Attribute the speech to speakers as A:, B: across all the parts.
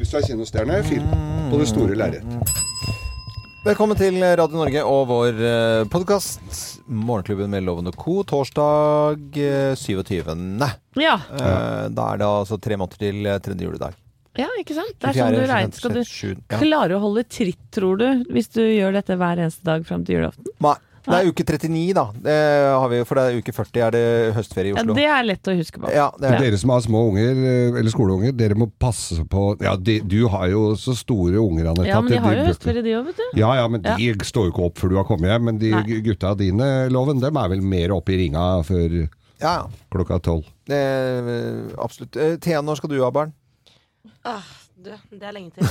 A: Extra kinostjerne film på det store
B: Mm.
A: lerret.
C: Velkommen til Radio Norge og vår eh, podkast. Morgenklubben med Loven og Co. torsdag eh, 27.
B: Ja,
C: Eh, Da er det altså tre måneder til eh, tredje juledag.
B: ja, ikke sant? Det er sånn du regner. Skal du klare å holde tritt, tror du, hvis du gjør dette hver eneste dag fram til julaften?
C: Nei. Det er uke 39, da. Det har vi, jo, for det er uke 40 er det høstferie i
B: Ja,
C: Oslo.
B: det er lett å huske på.
C: Ja, det er det.
A: Dere som har små unger, eh, eller skoleunger, dere må passe på Ja, de, du har jo så store unger, Anette.
B: Ja,
A: at
B: men de har jo
A: burde-
B: høstferie, de òg, vet du.
A: Ja, ja, men de står jo ikke opp før du har kommet hjem. Men de
B: Nei.
A: gutta dine, Loven, dem er vel mer oppe i ringa før
C: Ja, ja.
A: klokka tolv.
C: Det er, eh, absolutt. Eh, Thea, når skal du ha barn?
D: Ah, du, det er lenge til.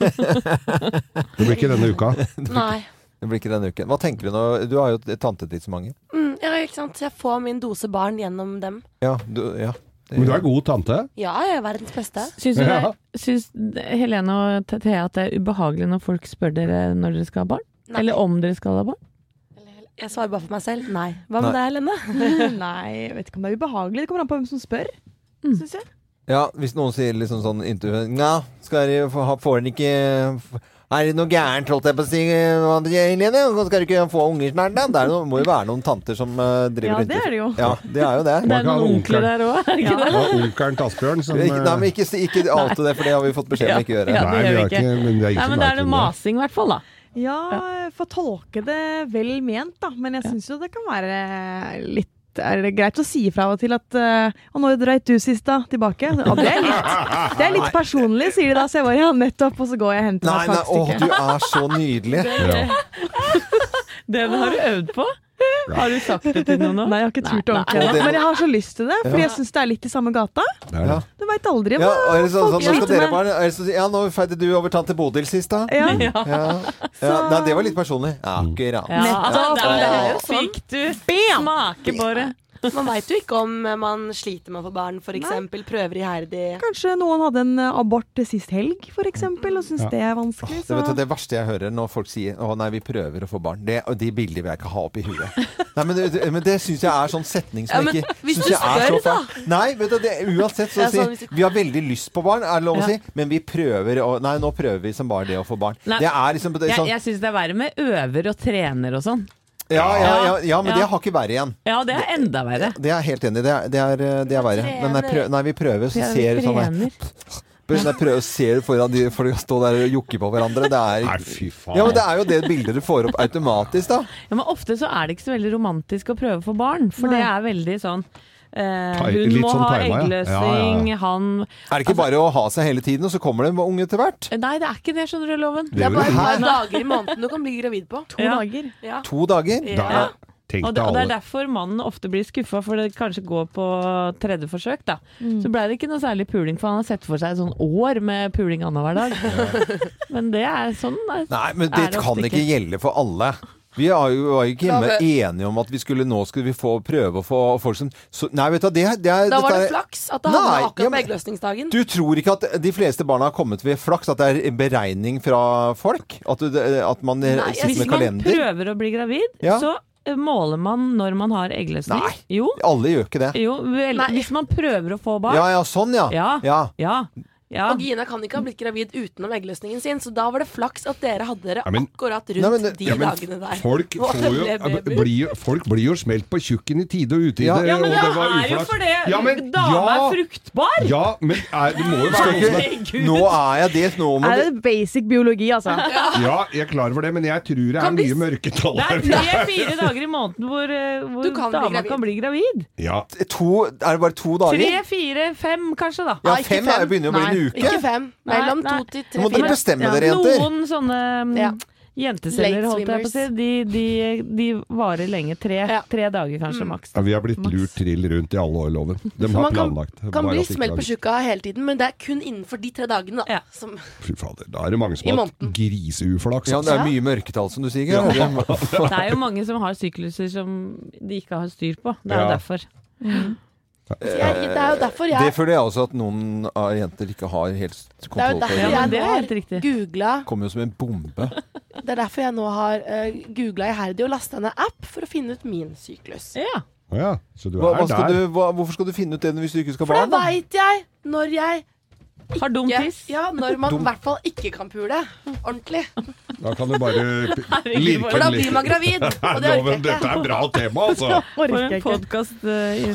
A: Det blir ikke denne uka.
D: Nei.
C: Det blir ikke denne uken. Hva tenker du nå? Du har jo tantetidsmange.
D: Mm, ja, ikke sant. Jeg får min dose barn gjennom dem.
C: Ja, du, ja.
A: Men du er god tante.
D: Ja, jeg er verdens beste.
B: Syns du det
A: Ja.
B: Syns Helene og Thea at det er ubehagelig når folk spør dere når dere skal ha barn?
D: Nei.
B: Eller om dere skal ha barn?
D: Jeg svarer bare for meg selv. Nei. Hva
C: Nei.
D: med deg, Helene?
E: Nei, jeg vet ikke om det er ubehagelig. Det kommer an på hvem som spør. Synes jeg.
C: Ja, hvis noen sier liksom sånn intervju Nja, skal dere få- ha- får dere ikke Er det noe gærent, holdt jeg på å si, hva det er, Helene? Skal dere ikke få unger snart, da? Det er noe, må jo være noen tanter som eh, driver
E: Ja,
C: rundt
E: det
C: i-
E: er det jo.
C: Ja, det er jo det.
B: Det
A: Man
B: er
A: kan ha
B: noen onkler
A: onkelen.
B: der òg, er det ikke
A: Det
B: det?
A: var onkelen til Asbjørn som
C: Ikke, nei,
A: eh,
C: men ikke, si- ikke oute det, for det har vi fått beskjed om å ikke gjøre.
B: Ja,
A: Nei,
B: det gjør
A: vi
B: vi
A: har ikke,
B: ikke.
A: men det er ikke
B: Nei,
A: som
B: men da er det
A: til det.
B: masing, i hvert fall, da.
E: Ja, få tolke det vel ment, da. Men jeg syns jo det kan være litt er det greit å si fra og til at eh, Og når dreit du sist, da? Tilbake? Ja, det, er litt, det er litt personlig, sier de da. Så jeg bare ja, nettopp, og så går jeg og henter
C: Nei,
E: meg
C: nei,
E: et
C: å,
E: kakestykke.
C: du er så nydelig.
A: Ja.
B: Den har du øvd på? Har du sagt det til noen nå?
E: Nei, jeg har ikke turt ordentlig
C: Og
E: ennå.
C: det-
E: Men jeg har så lyst til det, for jeg syns det er litt i samme gata.
A: Det er det.
E: Du veit aldri
C: Ja,
E: hva
C: og er det sånn, sånn,
E: folk
C: nå skal
E: sliter
C: dere
E: med.
C: bare er det sånn, Ja, nå feide du over tante Bodil sist, da.
E: Ja.
C: Ja, ja. Nei, det var litt personlig.
A: Mm.
C: Akkurat.
B: Ja, altså,
E: Nettopp.
B: der
C: Det er jo
D: sånn.
B: Fikk du smake på det?
D: Man veit jo ikke om eh, man sliter med å få barn, f.eks. Prøver iherdig.
E: Kanskje noen hadde en eh, abort sist helg, for eksempel, og syns det er vanskelig.
C: Det,
E: Så.
C: vet du, det verste jeg hører når folk sier Å nei, vi prøver å få barn, det, og de bildene vil jeg ikke ha opp i huet. Nei, men, det- men det syns jeg er sånn setning som
D: Ja, men
C: ikke
D: hvis
C: synes
D: du
C: jeg er så
D: spør, da.
C: fæl. Nei, vet du, det, uansett så
D: Ja,
C: sier
D: sånn, hvis du-
C: Vi har veldig lyst på barn, er det lov å
B: Ja.
C: si, men vi prøver å Nei, nå prøver vi som bare det å få barn.
B: Nei.
C: Det er liksom det, er
B: Jeg,
C: sånn,
B: jeg syns det er verre med øver og trener og sånn.
C: ja, ja, ja, ja, men
B: Ja.
C: det har ikke verre igjen.
B: Ja, det er enda verre.
C: Det er jeg helt enig i. Det er, det er, eh, det er verre. Men nei, prøv, nei, vi prøver, så ser du sånn
B: Trener.
C: Nei, prøver, ser du foran de folk som står der og jokker på hverandre. Det
A: Nei,
C: er
A: fy faen.
C: ja, men det er jo det bildet du får opp automatisk, da.
B: Ja, men ofte så er det ikke så veldig romantisk å prøve for barn, for det er veldig sånn eh,
A: Tai-
B: Hun
A: litt
B: må
A: sånn
B: ha
A: timer, ja. Ja, ja,
B: eggløsning,
A: ja.
B: han
C: Er det ikke bare å ha seg hele tiden, og så kommer det en unge etter hvert?
B: Nei, det er ikke det, skjønner du, Loven.
A: Det
D: Det er bare et
C: Hæ?
D: par dager i måneden du kan bli gravid på.
E: To
B: Ja.
E: dager.
D: Ja.
C: To dager?
D: Ja.
A: Da, tenk
B: Og det,
A: deg
B: og det er
A: alle.
B: derfor mannen ofte blir skuffa, for det kanskje går på tredje forsøk, da. Så blei det ikke noe særlig puling, for han har sett for seg et sånn år med puling annenhver dag. Men det er sånn er-
C: Nei, men
B: er
C: det
B: ofte
C: kan ikke gjelde for alle. Vi er jo, var jo ikke hjemme enige om at vi skulle nå skulle vi få prøve å få folk som så, Nei, vet du hva, det, det er
D: Da var
C: dette
D: det
C: er-
D: flaks at det havna
C: Nei, ja,
D: akkurat på
C: men-
D: eggløsningsdagen.
C: Du tror ikke at de fleste barna har kommet ved flaks? At det er en beregning fra folk? At, du, at man
D: Nei, jeg-
C: sitter
B: Hvis
C: med
B: man
C: kalender?
B: prøver å bli gravid,
C: Ja.
B: så eh, måler man når man har eggløsning.
C: Nei.
B: Jo,
C: Alle gjør ikke det.
B: jo vel,
D: Nei.
B: hvis man prøver å få barn.
C: Ja ja, sånn ja.
B: Ja.
C: ja.
B: Ja. ja.
D: Og Gina kan ikke ha blitt gravid utenom eggløsningen sin, så da var det flaks at dere hadde dere
A: Ja, men-
D: akkurat rundt
C: Nei, men det-
D: de
A: Ja, men
D: dagene der.
A: Folk,
D: Hvor
A: får jo,
D: det ble baby.
A: blir, jo- folk blir jo smelt på tjukken i tide og utide.
C: Ja. Ja,
A: og det var uflaks. Ja, men- ja,
B: fruktbar!
A: Ja, men er, det må jo være noe som er
C: Nå er jeg det. Nå må
E: Er
C: du
E: det basic biologi, altså?
A: Ja, jeg er klar over det, men jeg tror det er
D: Kan
A: mye
D: vi s-
A: mørketall
B: Det er
A: her.
B: tre-fire dager i måneden hvor, eh, hvor
D: Du kan bli
B: dama
D: gravid.
B: kan bli gravid.
A: Ja,
C: to, Er det bare to dager?
B: Tre-fire-fem, kanskje, da.
C: Ja,
D: Nei, ikke
C: fem er jo
D: fem.
C: begynner å bli en
B: Nei,
C: uke.
D: Ikke fem.
B: Nei,
D: Mellom
B: nei.
D: to til
C: Nå må dere
D: tre-fire.
C: bestemme
B: Ja,
C: dere, jenter.
B: Noen sånne mm,
D: Ja.
B: jenteceller,
D: Late
B: holdt jeg på å si, de, de, de varer lenge. Tre,
D: Ja.
B: tre dager kanskje, maks.
A: Ja, vi har blitt lurt trill rundt i alle år, loven. De
D: Så
A: har
D: man kan,
A: planlagt.
D: kan
A: Bare
D: bli
A: at de ikke
D: smelt på
A: lager-
D: tjukka hele tiden, men det er kun innenfor de tre dagene. Da,
B: Ja.
D: som,
A: Fy fader, da er det mange
D: I
A: som har hatt
D: måneden.
A: griseuflaks.
C: Ja,
A: altså.
C: det er mye mørketall, som du sier. Geir.
B: Det er jo mange som har sykluser som de ikke har styr på. Det er jo
A: Ja.
B: derfor.
D: så jeg, det er jo derfor
C: Det
D: jeg,
C: føler jeg også at noen av jenter ikke har helt
D: det er jo
C: kontroll på.
D: derfor
B: Ja, men
D: jeg
B: det
D: nå
B: er helt
D: har
B: riktig.
D: googla
C: Det kommer jo som en bombe.
D: Det er derfor jeg nå har uh, googla iherdig og lasta ned app for å finne ut min syklus.
B: Ja.
A: Å ja, så du er
C: Hva, hva skal
A: der.
C: du, hva, hvorfor skal du finne ut det hvis du ikke skal ha
D: For da
C: barn? da?
D: veit jeg når jeg
B: Har dum
D: Ja,
B: tiss.
D: ja, når man i hvert fall ikke kan pule ordentlig.
A: Da kan du bare p- lirke
D: For da
A: den
D: blir
A: litt.
D: man gravid, og
A: Loven,
D: det orker jeg
A: dette
D: ikke.
A: er bra tema, altså!
B: For en
E: Orker
B: eh,
E: jeg ikke.
B: podkast.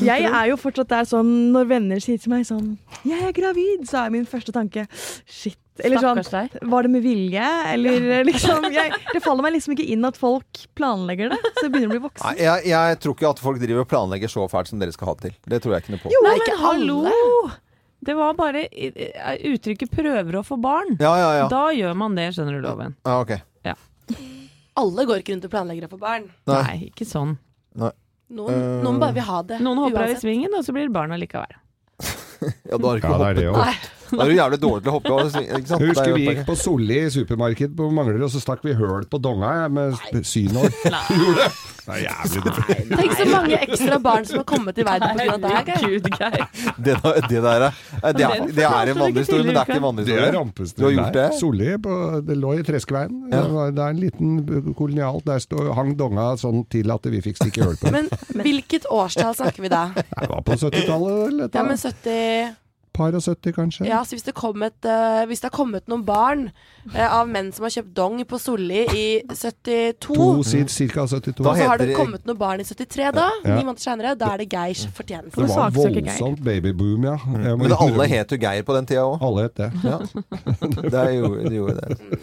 E: Jeg er jo fortsatt der sånn når venner sier til meg sånn 'Jeg er gravid', så er min første tanke 'shit'. Eller sånn
B: Stakkars deg.
E: Var det med vilje? Eller liksom jeg, Det faller meg liksom ikke inn at folk planlegger det. Så jeg begynner å bli
C: Nei,
E: voksen.
C: jeg, jeg tror ikke at folk driver og planlegger så fælt som dere skal ha det til. Det tror jeg ikke noe på.
E: Jo,
B: Nei,
E: ikke
B: men hallo! Det var bare eh, uttrykket 'prøver å få barn'.
C: Ja, ja, ja.
B: Da gjør man det, skjønner du, loven.
C: ja ok.
D: Alle går ikke rundt og planlegger å få barn.
C: Nei.
B: Nei, ikke sånn.
D: Noen,
C: Eh.
D: noen bare vil ha det.
B: Noen hopper av i
D: uansett.
B: svingen, og så blir det barn allikevel.
C: Ja, da har du ikke
A: Ja, det er det
C: hoppet.
D: Nei.
A: òg.
C: Da er du jævlig dårlig til å hoppe. og sving-
A: Jeg
C: Ikke sant? Det er
A: husker
C: jo
A: vi gikk
C: poenget.
A: på Solli supermarked på Manglerud, og så stakk vi høl på donga jeg, med synår. Gjorde det? Det er jævlig dumt.
D: Tenk så mange ekstra barn som har kommet i verden pga. det her. Geir.
B: Herregud, Geir.
C: Det, der- det der er, det er, det er en vandrehistorie, men det er ikke en
A: Det er
C: vandrehistorie.
A: rampeste.
C: Du har gjort det?
A: Solli, på- det lå i Treskeveien.
C: Ja.
A: Det, var, det er en liten kolonial. Der stod, hang donga sånn til at vi fikk stikke høl på den.
D: Men hvilket årstall snakker vi da?
A: Det var på 70-tallet, eller?
D: Ja,
A: dette?
D: men 70
A: Par og 70, kanskje?
D: Ja, så hvis det, kom et, eh, hvis det har kommet noen barn eh, av menn som har kjøpt dong på Solli i 72
A: To, ca. 72.
C: Da
D: Og så har
C: heter
D: det
C: det-
D: kommet noen barn i 73 da,
A: Ja.
D: ni måneder senere. Da er det Geirs fortjeneste.
A: det var
E: saksøker Geir.
A: voldsomt babyboom, ja. Jeg må
C: Mm. Men alle
A: innrømme-
C: het jo Geir på den tida òg.
A: alle het det.
C: Ja. Det er jo, det gjorde det.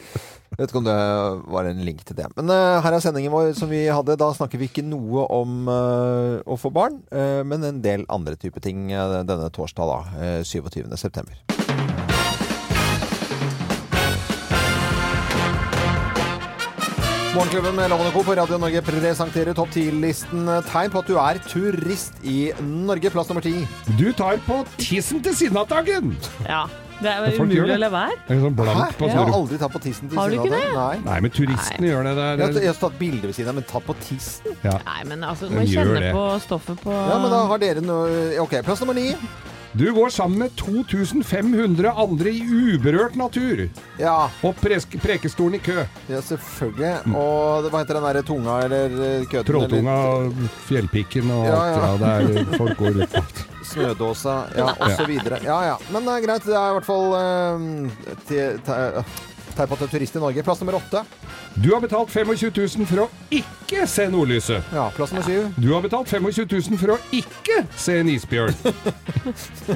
C: Jeg vet ikke om det var en link til det. Men eh, her er sendingen vår som vi hadde. Da snakker vi ikke noe om eh, å få barn, eh, men en del andre type ting eh, denne torsdag, da. eh, 27. september. Morgenklubben med Lovende Co. på Radio Norge presenterer topp 10-listen tegn på at du er turist i Norge. Plass nummer ti.
A: Du tar på tissen til sinnataggen!
B: Ja, det er jo
A: Folk gjør
B: umulig
A: det.
B: å la være.
A: En sånn
C: Hæ?
A: blank på
C: Jeg har
A: sånn
C: aldri tatt på tissen til
B: Har du ikke
C: Sinnataggen.
B: det?
C: Nei.
A: Nei, men turistene gjør det
C: Jeg har,
A: der.
C: jeg har tatt bilder ved siden av, men tatt på tissen? Ah.
A: Ja.
B: Nei, men altså,
A: Den
B: man
A: gjør
B: kjenner
A: det.
B: på stoffet på
C: Ja, men da har dere noe Ok, plass nummer ni.
A: Du går sammen med 2500 andre i uberørt natur.
C: Ja,
A: Opp presk- prekestolen i kø.
C: ja, selvfølgelig. Og det- hva heter den derre tunga eller eh, køten?
A: Trolltunga, fjellpikken og
C: Ja,
A: alt. Ja, det er, folk går litt
C: eller Snødåsa, ja, og så videre. Ja ja. Men det er greit, det er i hvert fall ehm, te- te- Tegn på at du er turist i Norge. Plass nummer åtte.
A: Du har betalt 25 000 for å ikke se nordlyset.
C: Ja, plass nummer syv.
A: Du har betalt 25 000 for å ikke se en isbjørn.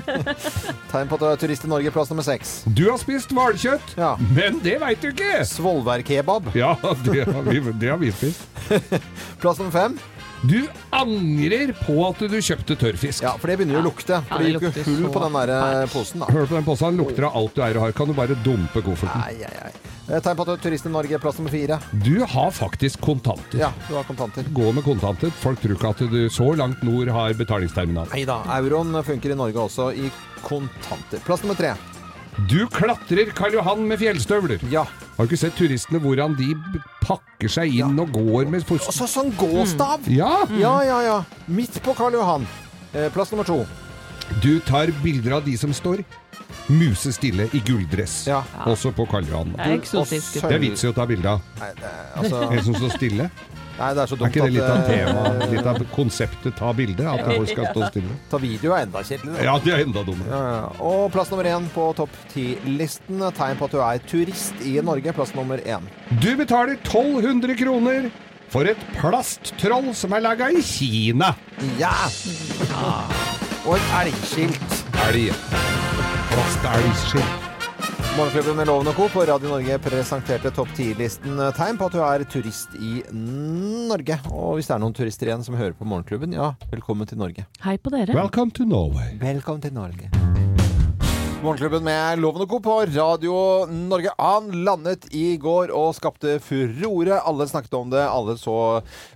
C: Tegn på at du er turist i Norge. Plass nummer seks.
A: Du har spist hvalkjøtt,
C: Ja.
A: men det veit du ikke!
C: Svolværkebab.
A: Ja, det har vi, det har vi spist.
C: Plass nummer fem.
A: Du angrer på at du kjøpte tørrfisk.
C: Ja, for det begynner jo å lukte. For
B: Ja,
C: det
B: det
C: gikk jo
B: lukter
C: hull
B: så
C: på den derre
B: fælt.
C: posen, da.
A: Hør på den posen, han lukter av alt du eier og har. Kan du bare dumpe kofferten?
C: Ai, ai, ai. Eh, Tegn på at du er turist i Norge. Plass nummer fire.
A: Du har faktisk kontanter.
C: Ja, du har kontanter.
A: Gå med kontanter. Folk tror ikke at du så langt nord har betalingsterminal.
C: Nei da, euroen funker i Norge også i kontanter. Plass nummer tre.
A: Du klatrer Karl Johan med fjellstøvler.
C: Ja.
A: Har du ikke sett turistene hvordan de b- pakker seg inn og går med
C: Og
A: fos...
C: så sånn gåstav!
A: Ja!
C: Ja, ja, ja. Midt på Karl Johan. Eh, plass nummer to.
A: Du tar bilder av de som står musestille i gulldress.
C: Ja.
A: Også på Karl Johan.
B: Det er eksotisk.
C: Og
A: Det er vits i å ta bilde av
C: Nei, det, er- altså,
A: en som står stille.
C: nei, det er så
A: Er
C: dumt
A: ikke det litt av
C: eh, eh,
A: temaet, litt av konseptet ta bilde? At folk skal stå stille?
C: Ta video er enda kjedeligere.
A: Ja, det er enda dummere.
C: Ja, ja. Og plass nummer én på topp ti-listen. Tegn på at du er turist i Norge. Plass nummer én.
A: Du betaler 1200 kroner for et plasttroll som er laga i Kina.
C: Ja! Og et elgskilt.
A: Elg. Plastelgskilt.
C: Morgenklubben med Loven og Co. på Radio Norge presenterte topp 10-listen tegn på at du er turist i Norge. Og hvis det er noen turister igjen som hører på Morgenklubben, ja, velkommen til Norge.
B: Hei på dere.
A: Welcome to Norway.
C: Velkommen til Norge. Morgenklubben med Loven og Co. på Radio Norge. Han landet i går og skapte furore. Alle snakket om det. Alle så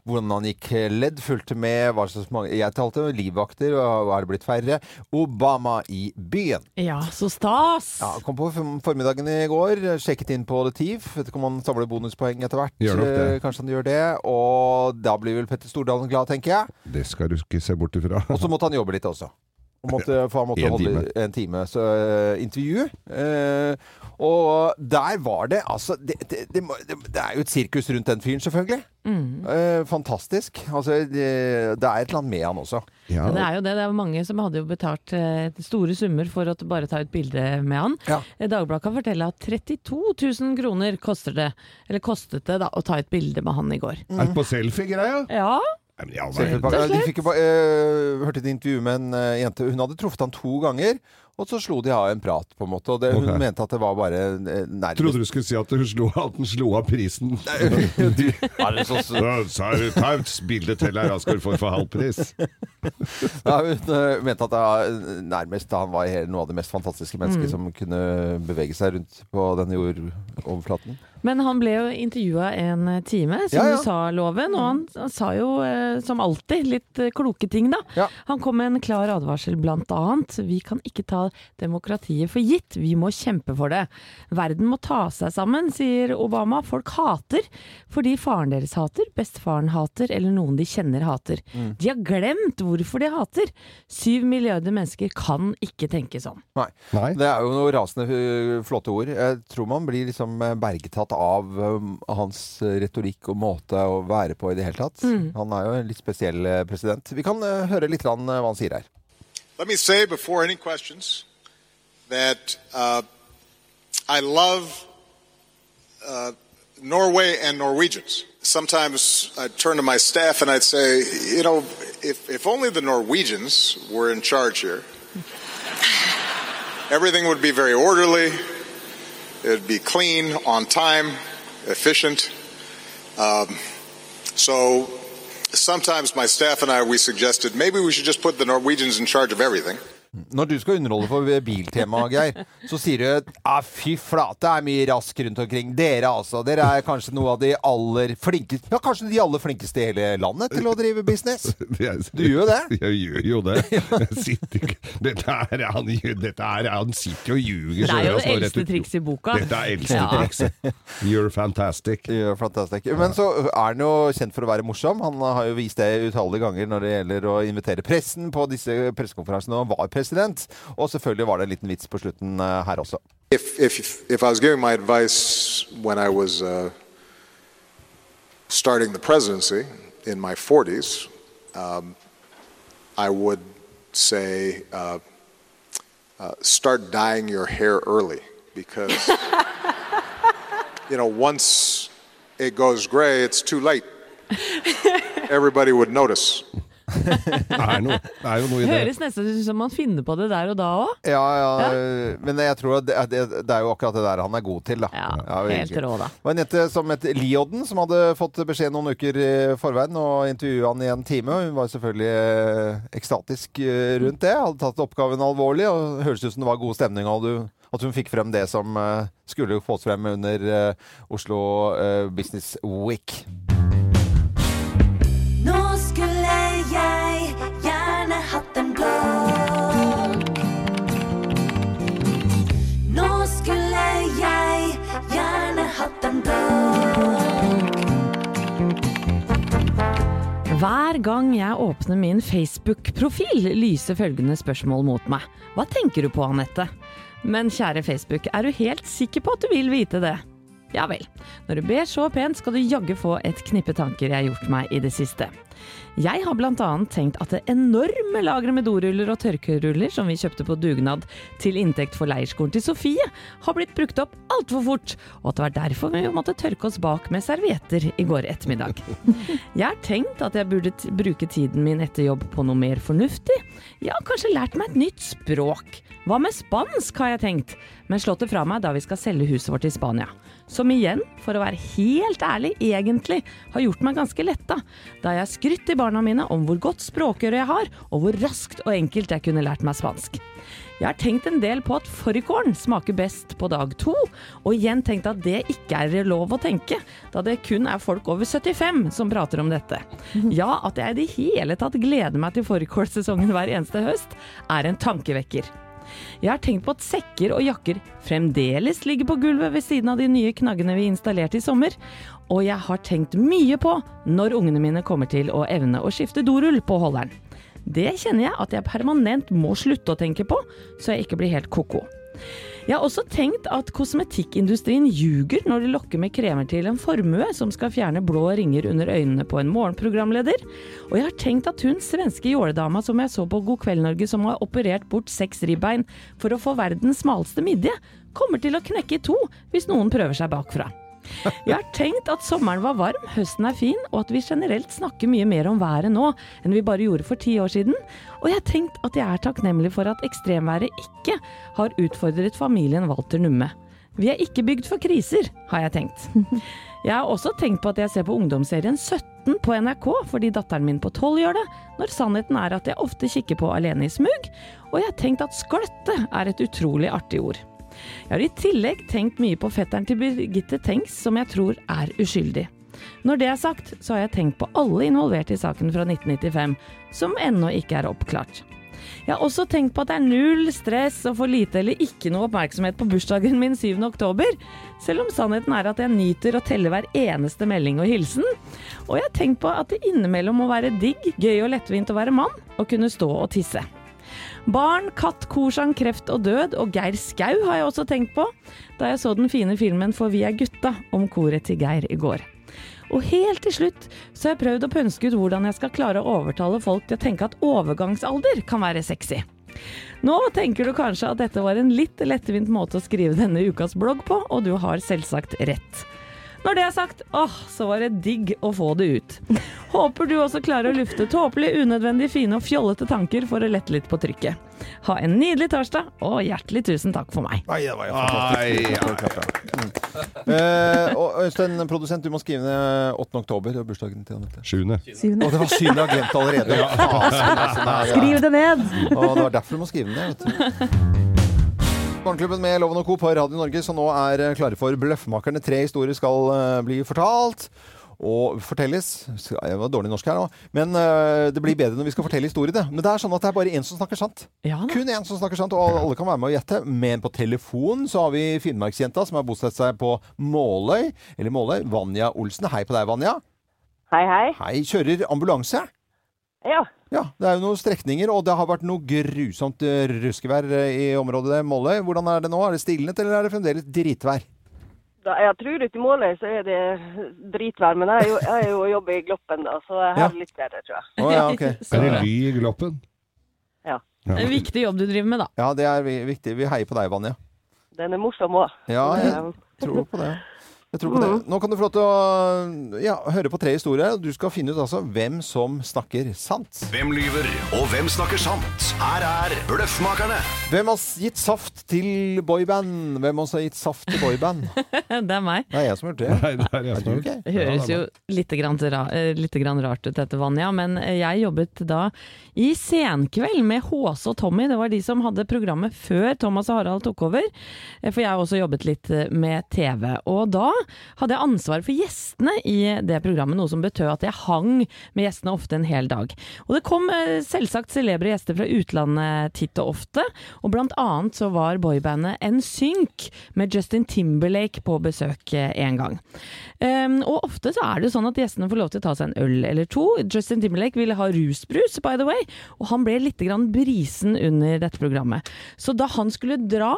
C: hvordan han gikk kledd. Fulgte med hva slags mange Jeg talte livvakter, og er det blitt færre? Obama i byen.
B: Ja, så stas!
C: Ja, kom på form- formiddagen i går, sjekket inn på The Thief. Vet ikke om han samler bonuspoeng etter hvert.
A: Gjør nok det.
C: Eh, Kanskje han gjør det. Og da blir vel Petter Stordalen glad, tenker jeg.
A: Det skal du ikke se bort ifra.
C: Og så måtte han jobbe litt også. Og måtte, for han måtte
A: En
C: holde
A: time.
C: en time så, eh, intervju. Eh, og der var det altså det, det, det, må- det, det er jo et sirkus rundt den fyren, selvfølgelig. Eh, fantastisk. Altså, det, det er et eller annet med han også.
A: Ja.
B: Ja, det er jo det. Det er jo mange som hadde jo betalt eh, store summer for å bare ta et bilde med han.
C: Ja.
B: Eh, Dagbladet kan fortelle at 32 000 kroner koster det, eller kostet det da, å ta et bilde med han i går.
A: Er det på selfie-greia?
B: Ja,
A: Nei, men i all verden.
C: Selvfølgelig. De fikk jo ba- eh, hørte et intervju med en eh, jente. Hun hadde truffet han to ganger, og så slo de av en prat, på en måte. Og det, hun
A: Ok.
C: mente at det var bare eh, nærmest eh,
A: Trodde du skulle si at hun slo, at den slo av prisen.
C: du, er det så,
A: Ja, Så er det ta et bilde til her, da skal du få for halv pris.
C: ja, hun eh, mente at det var nærmest han var helt, noe av det mest fantastiske mennesket som kunne bevege seg rundt på denne jordoverflaten.
B: Men han ble jo intervjua en time, som
C: Ja, ja.
B: du sa, Loven. Og han, han sa jo, eh, som alltid, litt eh, kloke ting, da.
C: Ja.
B: Han kom med en klar advarsel, blant annet. Vi kan ikke ta demokratiet for gitt, vi må kjempe for det. Verden må ta seg sammen, sier Obama. Folk hater fordi faren deres hater, bestefaren hater, eller noen de kjenner hater.
C: Mm.
B: De har glemt hvorfor de hater. Syv milliarder mennesker kan ikke tenke sånn.
C: Nei.
A: Nei.
C: Det er jo noen rasende eh, flotte ord. Jeg tror man blir liksom eh, bergtatt av eh, hans retorikk og måte å være på i det hele tatt. Han er jo en litt spesiell eh, president. Vi kan eh, høre litt grann, eh, hva han sier her.
F: Let me say before any questions that uh, I love uh, Norway and Norwegians. Sometimes I'd turn to my staff and I'd say, you know, if, if only the Norwegians were in charge here, everything would be very orderly, it would be clean, on time, efficient. Um, so sometimes my staff and I, we suggested maybe we should just put the Norwegians in charge of everything.
C: Når du skal underholde for biltema, Geir, så sier du ah, fy flate, det er mye rask rundt omkring. Dere altså. Dere er kanskje noe av de aller flinkeste Ja, kanskje de aller flinkeste i hele landet til å drive business. Du gjør jo det.
A: Jeg gjør jo det. Jeg sitter ikke Dette er han, gjør- dette er, han sitter jo og ljuger.
B: Det er jo
A: så hører
B: det
A: han rett
B: eldste
A: ut.
B: trikset i boka.
A: Dette er eldste
B: Ja.
A: trikset. You're fantastic.
C: Det gjør Fantastisk. Men så er han jo kjent for å være morsom. Han har jo vist det utallige ganger når det gjelder å invitere pressen på disse pressekonferansene, og han var president. Og selvfølgelig var det en liten vits på slutten eh, her også.
F: If, if, if I was giving my advice when I was uh, starting the presidency in my 40s, um, I would say uh, uh, start dyeing your hair early because, you know, once it goes gray, it's too late. Everybody would notice.
A: Det er, noe, det er jo noe i det.
B: Høres nesten ut som man finner på det der og da òg.
C: Ja, ja, Eh, men jeg tror at det, det, det er jo akkurat det der han er god til, da.
B: Ja,
C: virkelig.
B: helt rå, da.
C: Det var en jente som het Liodden, som hadde fått beskjed noen uker i forveien, og intervjua han i en time. og Hun var selvfølgelig eh, ekstatisk eh, rundt det. Hadde tatt oppgaven alvorlig, og det høres ut som det var god stemning. Og du, at hun fikk frem det som eh, skulle fås frem under eh, Oslo eh, Business Week.
G: Nå skulle jeg gjerne hatt en blå. Nå skulle jeg gjerne hatt en blå.
B: Hver gang jeg åpner min Facebook-profil, lyser følgende spørsmål mot meg. Hva tenker du på, Anette? Men kjære Facebook, er du helt sikker på at du vil vite det? Ja vel. Når du ber så pent, skal du jaggu få et knippe tanker jeg har gjort meg i det siste. Jeg har blant annet tenkt at det enorme lageret med doruller og tørkeruller som vi kjøpte på dugnad til inntekt for leirskolen til Sofie, har blitt brukt opp altfor fort, og at det var derfor vi måtte tørke oss bak med servietter i går ettermiddag. Jeg har tenkt at jeg burde t bruke tiden min etter jobb på noe mer fornuftig. Jeg har kanskje lært meg et nytt språk. Hva med spansk, har jeg tenkt, men slått det fra meg da vi skal selge huset vårt i Spania. Som igjen, for å være helt ærlig, egentlig har gjort meg ganske letta, da jeg har skrytt til barna mine om hvor godt språkøre jeg har, og hvor raskt og enkelt jeg kunne lært meg spansk. Jeg har tenkt en del på at fårikål smaker best på dag to, og igjen tenkt at det ikke er lov å tenke, da det kun er folk over 75 som prater om dette. Ja, at jeg i det hele tatt gleder meg til fårikålsesongen hver eneste høst, er en tankevekker. Jeg har tenkt på at sekker og jakker fremdeles ligger på gulvet ved siden av de nye knaggene vi installerte i sommer. Og jeg har tenkt mye på når ungene mine kommer til å evne å skifte dorull på holderen. Det kjenner jeg at jeg permanent må slutte å tenke på, så jeg ikke blir helt ko-ko. Jeg har også tenkt at kosmetikkindustrien ljuger når de lokker med kremer til en formue som skal fjerne blå ringer under øynene på en morgenprogramleder. Og jeg har tenkt at hun svenske jåledama som jeg så på God kveld Norge som har operert bort seks ribbein for å få verdens smaleste midje, kommer til å knekke i to hvis noen prøver seg bakfra. Jeg har tenkt at sommeren var varm, høsten er fin, og at vi generelt snakker mye mer om været nå enn vi bare gjorde for ti år siden. Og jeg har tenkt at jeg er takknemlig for at ekstremværet ikke har utfordret familien Walter Numme. Vi er ikke bygd for kriser, har jeg tenkt. Jeg har også tenkt på at jeg ser på ungdomsserien 17 på NRK fordi datteren min på 12 gjør det, når sannheten er at jeg ofte kikker på Alene i smug, og jeg har tenkt at skløtte er et utrolig artig ord. Jeg har i tillegg tenkt mye på fetteren til Birgitte Tengs, som jeg tror er uskyldig. Når det er sagt, så har jeg tenkt på alle involverte i saken fra 1995, som ennå ikke er oppklart. Jeg har også tenkt på at det er null stress og for lite eller ikke noe oppmerksomhet på bursdagen min 7. oktober, selv om sannheten er at jeg nyter å telle hver eneste melding og hilsen. Og jeg har tenkt på at det innimellom må være digg, gøy og lettvint å være mann, og kunne stå og tisse. Barn, katt, korsang, kreft og død og Geir Skau har jeg også tenkt på da jeg så den fine filmen For vi er gutta om koret til Geir i går. Og helt til slutt så har jeg prøvd å pønske ut hvordan jeg skal klare å overtale folk til å tenke at overgangsalder kan være sexy. Nå tenker du kanskje at dette var en litt lettvint måte å skrive denne ukas blogg på, og du har selvsagt rett. Når det er sagt, åh, så var det digg å få det ut. Håper du også klarer å lufte tåpelige, unødvendig fine og fjollete tanker for å lette litt på trykket. Ha en nydelig torsdag, og hjertelig tusen takk for meg.
C: Nei, det var jo
A: Ah.
C: fantastisk. Mm. Eh, og Øystein, produsent, du må skrive ned 8. oktober. Det var bursdagen til Anette.
A: Sjuende.
E: Syvende.
C: Å, det var synd jeg har glemt allerede. Fasen, altså, nei, ja.
E: Skriv det ned!
C: Og det var derfor du må skrive den ned. vet du. Morgenklubben med Loven og Co. på Radio Norge, som nå er eh, klare for Bløffmakerne. Tre historier skal eh, bli fortalt. Og fortelles Skal- Jeg var dårlig norsk her nå. Men eh, det blir bedre når vi skal fortelle historiene. Men det er sånn at det er bare én som snakker sant.
B: Ja da.
C: Kun én som snakker sant, og alle- alle kan være med og gjette. Men på telefon så har vi Finnmarksjenta som har bosatt seg på Måløy. Eller Måløy. Vanja Olsen. Hei på deg, Vanja.
H: Hei, hei.
C: Hei. Kjører ambulanse?
H: Ja,
C: Ja, det er jo noen strekninger, og det har vært noe grusomt eh, ruskevær eh, i området der, Måløy. Hvordan er det nå? Er det stilnet, eller er det fremdeles dritvær?
H: da, jeg tror ute i Måløy så er det dritvær, men jeg er jo, jeg er jo og jobber i Gloppen, da, så her
C: Ja.
H: er det litt bedre, tror jeg.
C: Å ja, ok.
A: Er det ly i gloppen?
H: Ja.
B: En viktig jobb du driver med, da.
C: Ja, det er vi- viktig. Vi heier på deg, Vanja.
H: Den er Mhm. morsom òg.
C: Ja, jeg tror på det. Jeg tror på det. Nå kan du få lov til å ja, høre på tre historier. Du skal finne ut altså hvem som snakker sant.
I: Hvem lyver, og hvem snakker sant? Her er Bløffmakerne.
C: Hvem har gitt saft til boyband? Hvem har gitt saft til boyband?
B: Det er meg.
C: Det er jeg som har gjort det.
A: Nei, det er jeg som
C: Ok.
B: Det høres jo litt, grann, ra- eh, litt grann rart ut dette, Vanja, men eh, jeg jobbet da i Senkveld med Håse og Tommy. Det var de som hadde programmet før Thomas og Harald tok over. Eh, For jeg har også jobbet litt eh, med TV. Og da hadde jeg ansvar for gjestene i det programmet, noe som betød at jeg hang med gjestene ofte en hel dag. Og det kom eh, selvsagt celebre gjester fra utlandet titt og ofte, og blant annet så var boybandet NSYNC med Justin Timberlake på besøk eh, en gang. Um, og ofte så er det jo sånn at gjestene får lov til å ta seg en øl eller to. Justin Timberlake ville ha rusbrus, by the way, og han ble litt grann brisen under dette programmet. Så da han skulle dra,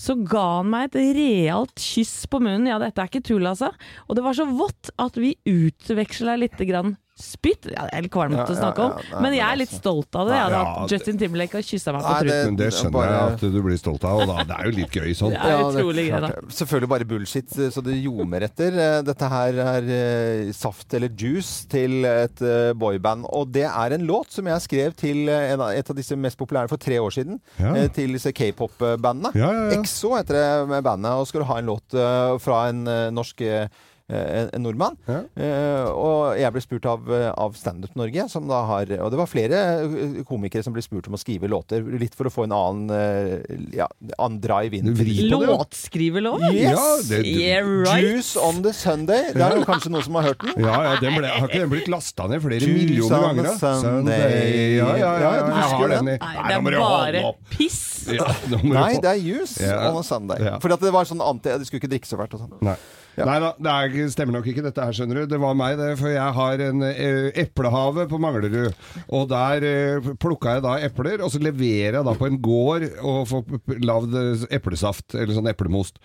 B: så ga han meg et realt kyss på munnen. Ja, dette er ikke tull, altså. Og det var så vått at vi utveksla litt grann spytt. Ja, det er litt kvalmt
C: Ja,
B: å
C: ja,
B: snakke om,
C: ja, nei,
B: men jeg
C: men
B: er litt
C: altså.
B: stolt av det. Jeg hadde
A: Ja,
B: hatt
A: det-
B: Justin Timberlake og kyssa meg på
C: Nei,
B: truten.
A: Men det skjønner jeg
C: Bare-
A: at du blir stolt av, og da, det er jo litt gøy sånn.
B: Det er
C: Ja, det er
B: utrolig gøy, da.
C: klart det. Selvfølgelig bare bullshit, eh, så det ljomer etter. Eh, Dette her er eh, saft eller juice til et eh, boyband. Og det er en låt som jeg skrev til eh, en av, et av disse mest populære for tre år siden.
A: Ja.
C: eh, Til disse k-pop-bandene.
A: Ja, ja, ja.
C: EXO heter det med bandet, og skulle ha en låt eh, fra en eh, norsk eh, en, en nordmann.
A: Ja.
C: Eh, og jeg ble spurt av, eh, av Standup Norge, som da har Og det var flere eh, komikere som ble spurt om å skrive låter, litt for å få en annen, eh, ja, annen drive inn.
A: Du
C: til
A: vrir på det.
B: Låtskriverlov?
C: Yes!
A: Ja, det,
B: Yeah, right!
C: Juice on the Sunday. Det er jo kanskje noen som har hørt den.
A: ja, ja den ble, har ikke den blitt lasta ned flere
C: Tusen
A: millioner ganger? da?
C: Sunday.
A: Ja, ja, ja,
C: Ja,
A: ja,
C: du
A: jeg
C: husker
A: har
C: den.
A: den i
B: Nei,
A: Nei,
B: det
A: nå må
B: er
A: du holde
B: bare
A: opp.
B: piss!
A: Ja, nå må du
C: Nei,
A: få-
C: det er Juice
A: Ja.
C: on a Sunday.
A: Ja.
C: Fordi at det var sånn anti... Du skulle ikke drikke så fælt og sånn.
A: Nei. Nei da, det er, ikke- stemmer nok ikke dette her, skjønner du. Det var meg, det. For jeg har en eh, eplehave på Manglerud. Og der eh, plukka jeg da epler, og så leverer jeg da på en gård og får lagd eh, eplesaft, eller sånn eplemost.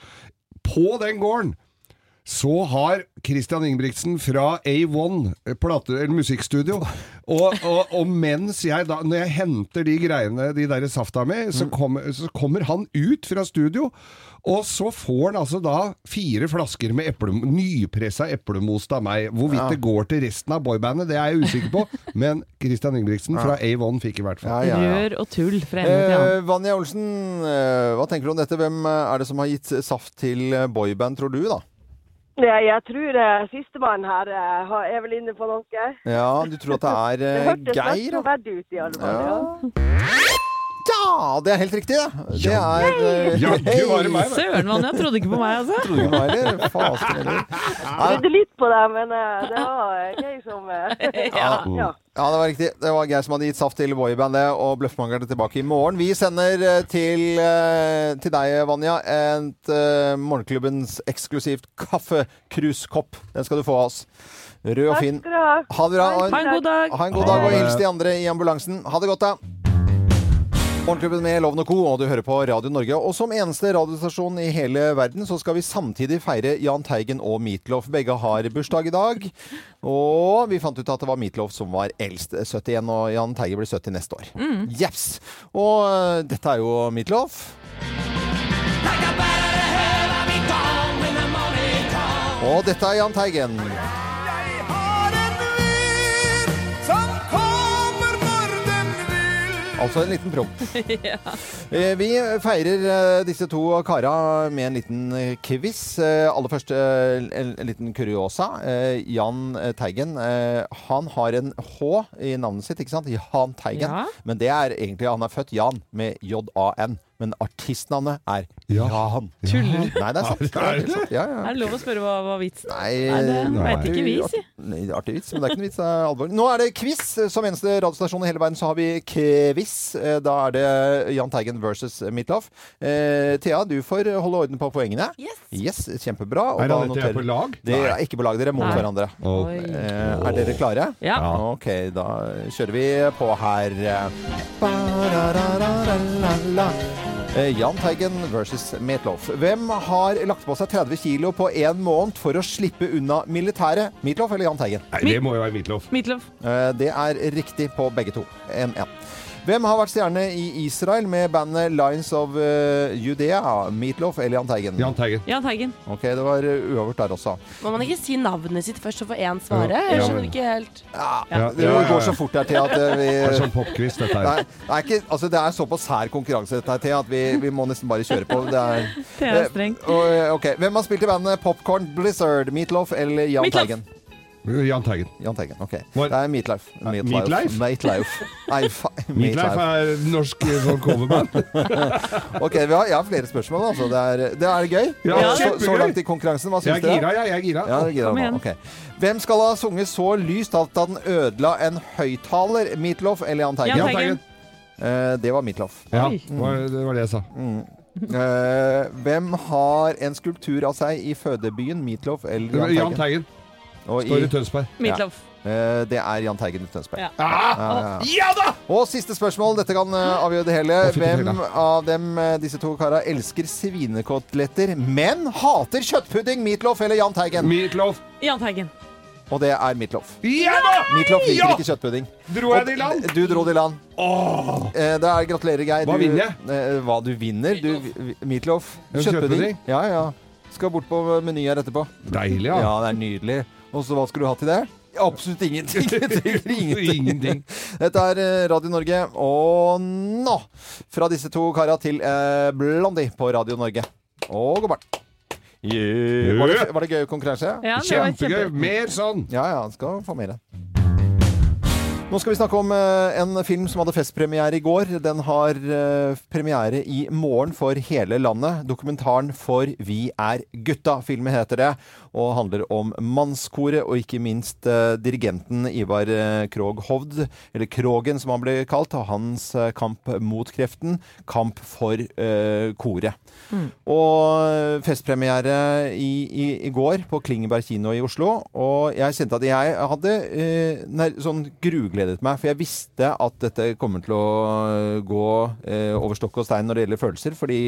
A: På den gården! Så har Christian Ingebrigtsen fra A1 plate, eller musikkstudio og, og, og mens jeg da Når jeg henter de greiene, de der safta mi, så, kommer- så kommer han ut fra studio, og så får han altså da fire flasker med eple, nypressa eplemost av meg. Hvorvidt det går til resten av boybandet, det er jeg usikker på, men Christian Ingebrigtsen fra A1 fikk i hvert fall.
C: Ja, ja, ja.
B: Rør og tull fra ende til annen.
C: Eh, Vanja Olsen, eh, hva tenker du om dette? Hvem eh, er det som har gitt saft til eh, boyband, tror du, da?
H: Ja, jeg tror eh, sistemann her eh, har- er vel inne på noe.
C: Ja, du tror at
H: Det
C: det er eh,
H: hørtes mest
C: Geir? da?
H: troverdig ut, i alle fall. Ja.
C: Ja, det er helt riktig, det. Det er eh,
A: Jaggu var det meg, da.
B: Søren, Vanja trodde ikke på meg, altså.
C: Trodde ikke det var heller. Fasen heller.
H: Jeg trodde litt på det, men eh, det var eh, Geir som eh, ja.
C: Ja, det var riktig. Det var Geir som hadde gitt saft til boybandet, og Bløffmangeren er tilbake i morgen. Vi sender eh, til, eh, til deg, Vanja, et eh, morgenklubbens eksklusivt kaffekruskopp. Den skal du få av oss. Rød og fin.
H: Takk skal du ha.
C: Ha det bra. og
B: Ha en god dag.
C: Ha en god
A: Ha
C: dag, og
A: det.
C: hils de andre i ambulansen. Ha det godt, da. Morgenklubben med Loven og Co, og du hører på Radio Norge. Og som eneste radiostasjon i hele verden, så skal vi samtidig feire Jahn Teigen og Meatloaf. Begge har bursdag i dag. Og vi fant ut at det var Meatloaf som var eldst, 71, og Jahn Teigen blir 70 neste år. Jeps! Og øh, dette er jo Meatloaf. Og dette er Jahn Teigen. Altså en liten promp. Eh, Vi feirer eh, disse to kara med en liten eh, quiz. Eh, Aller først eh, en en liten kuriosa. Eh, Jan eh, Teigen, eh, han har en H i navnet sitt, ikke sant? Jan Teigen.
B: Ja.
C: Men det er egentlig han er født Jan med J-A-N. Men artistnavnet er
A: Ja.
C: Jan.
B: Tuller
C: Nei, det er sant.
A: Ja, er det
C: sant. Ja, ja.
B: Er det lov å spørre hva var vitsen?
C: Nei,
B: Nei, det
A: vet
C: artig-
B: ikke vi, si.
C: artig- Nei, det er artig vits, men det er ikke noen vits. Det er alvorlig. Nå er det quiz. eh, Som eneste radiostasjon i hele verden så har vi quiz. Eh, Da er det Jahn Teigen versus Midtloff. Eh, Thea, du får holde orden på poengene.
D: Yes.
C: Yes, Kjempebra. Og
A: Er
C: da
A: han dette
C: noterer-
A: på lag?
C: Det er ikke på lag. Dere er mot
B: Nei.
C: hverandre.
A: Å,
C: Eh,
B: Oi.
C: Er dere klare?
B: Ja.
C: Ok, da kjører vi på her. Ba-ra-ra-ra-ra-la. Eh, Jahn Teigen versus Meatloaf. Hvem har lagt på seg 30 kilo på én måned for å slippe unna militæret? Meatloaf eller Jahn Teigen?
A: Nei, det må jo være Meatloaf.
B: Meatloaf.
C: Eh, Det er riktig på begge to. 1-1. Hvem har vært stjerne i Israel med bandet Lines of eh, Judea? Meatloaf eller Jahn Teigen?
A: Jahn Teigen.
B: Jan Teigen.
C: Ok, det var eh, uavgjort der også.
D: Må man ikke si navnet sitt først og få én svare?
A: Ja.
D: Jeg
A: Ja,
D: skjønner
A: men-
D: ikke helt.
A: Ja,
C: Ah, Det
A: ja, ja,
C: går
A: ja.
C: så fort der til at eh,
A: Det er
C: vi
A: sånn popquiz, dette
C: Nei,
A: her.
C: det er, ikke, altså det er såpass sær konkurranse dette her, Thea, at vi, vi må nesten bare kjøre på. Det er,
B: Det er strengt.
C: Eh, og, ok, Hvem har spilt i bandet Popcorn Blizzard? Meatloaf eller Jahn
B: Meatloaf.
C: Teigen?
A: Jahn Teigen.
C: Jan Teigen, ok.
A: Hvor- Eh,
C: Det er Meatloaf.
A: Nei,
C: Meatloaf.
A: Meatloaf?
C: Meatloaf. Nei, fa-
A: Meatloaf
C: Meatloaf.
A: er norsk eh, sånn coverband.
C: Ok, vi har, jeg har flere spørsmål, altså. Det er, det er gøy.
A: Ja,
C: Eh, så, så
A: kjempegøy.
C: langt i konkurransen. Hva
A: Jeg er
C: syns dere?
A: gira, jeg. jeg er gira.
C: Ja, det er gira
B: Kom
C: nå.
B: igjen.
C: Ok. Hvem skal ha sunget så lyst at han ødela en høyttaler? Meatloaf eller Jahn Teigen?
B: Jahn
A: Jahn
B: Teigen.
A: Teigen.
C: Eh, det var Meatloaf.
A: Ja, det var, det var det jeg sa.
C: Eh, hvem har en skulptur av seg i fødebyen Meatloaf eller Jahn
A: Jahn
C: Teigen?
A: Teigen
C: Og i,
A: står i Tønsberg.
B: Meatloaf.
C: eh, det er Jahn Teigen i Tønsberg.
B: Ja.
A: Ah!
C: Ja, ja, ja. Og siste spørsmål, dette kan eh, avgjøre det hele.
A: Å, fy, fy, fy,
C: Hvem av dem, eh, disse to kara, elsker svinekoteletter, men hater kjøttpudding? Meatloaf eller Jahn Teigen?
A: Meatloaf.
B: Jan Teigen.
C: Og det er Meatloaf.
A: Ja da!
C: Meatloaf liker
A: Ja!
C: ikke kjøttpudding.
A: Dro jeg det i land?
C: Du dro det i land. Eh, Det er Gratulerer, Geir.
A: Hva
C: Du-
A: vinner jeg?
C: eh, Hva du vinner? Du, vi- meatloaf.
A: En
C: Kjøttpudding.
A: kjøttpudding?
C: Ja, ja. Skal bort på menyen her etterpå.
A: Deilig,
C: Ja,
A: ja.
C: det er nydelig. Og så hva skulle du ha til det? Absolutt ingenting. Jeg trenger ingenting.
A: Ingenting.
C: Dette er eh, Radio Norge, og nå fra disse to kara til eh, Blondie på Radio Norge. Og god morgen. Yeah. Var, det, var det gøy konkurranse?
B: Ja, det var
A: Kjempegøy. Mer sånn.
C: Ja ja, skal få mer. Nå Nå skal vi snakke om eh, en film som hadde festpremiere i går. Den har eh, premiere i morgen for hele landet. Dokumentaren For vi er gutta. Filmen heter det, og handler om mannskoret og ikke minst eh, dirigenten Ivar eh, Krogh Hovd, eller Krogen som han ble kalt, og hans eh, kamp mot kreften. Kamp for eh, koret. Og festpremiere i, i, i går på Klingeberg kino i Oslo. Og jeg kjente at jeg hadde eh, nær, sånn grugledet meg, for jeg visste at dette kommer til å eh, gå eh, over stokk og stein når det gjelder følelser. Fordi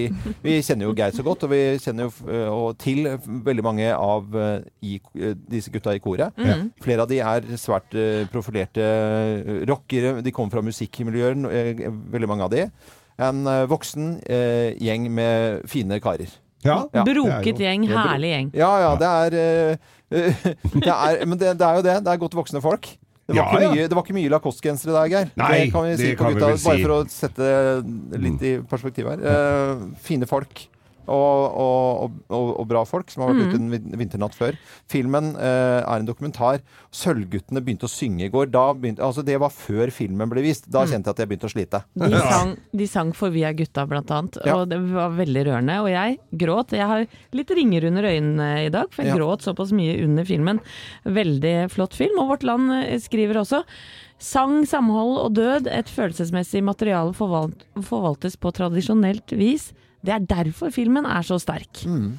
C: vi kjenner jo Geir så godt, og vi kjenner jo eh, og til veldig mange av eh, i, eh, disse gutta i koret.
A: Mhm.
C: Flere av de er svært eh, profilerte eh, rockere. De kommer fra musikkmiljøer, no- eh, veldig mange av de. En eh, voksen eh, gjeng med fine karer.
A: Ja,
C: Ja.
B: Broket gjeng,
C: Ja, bro-
B: herlig gjeng.
C: Ja, ja, det er, eh, det er Men det, det er jo det. Det er godt voksne folk. Det var,
A: Ja,
C: ikke,
A: ja.
C: mye, det var ikke mye lacoste-gensere der, Geir.
A: Nei,
C: det kan vi si
A: det
C: på
A: kan vi
C: gutta,
A: vel si. Mm.
C: bare for å sette litt i perspektiv her. Eh, fine folk. Og, og, og- og, og bra folk som har vært ute en vin- vinternatt før. Filmen eh, er en dokumentar. Sølvguttene begynte å synge i går. Da begynte, altså det var før filmen ble vist. Da kjente jeg at jeg begynte å slite.
B: De sang, de sang for Vi er gutta, blant annet.
C: Ja.
B: Og det var veldig rørende. Og jeg gråt. Jeg har litt ringer under øynene i dag, for jeg
C: Ja.
B: gråt såpass mye under filmen. Veldig flott film. Og Vårt Land eh, skriver også Sang, samhold og død, et følelsesmessig materiale forvalt, forvaltes på tradisjonelt vis. Det er derfor filmen er så sterk.
C: Mm.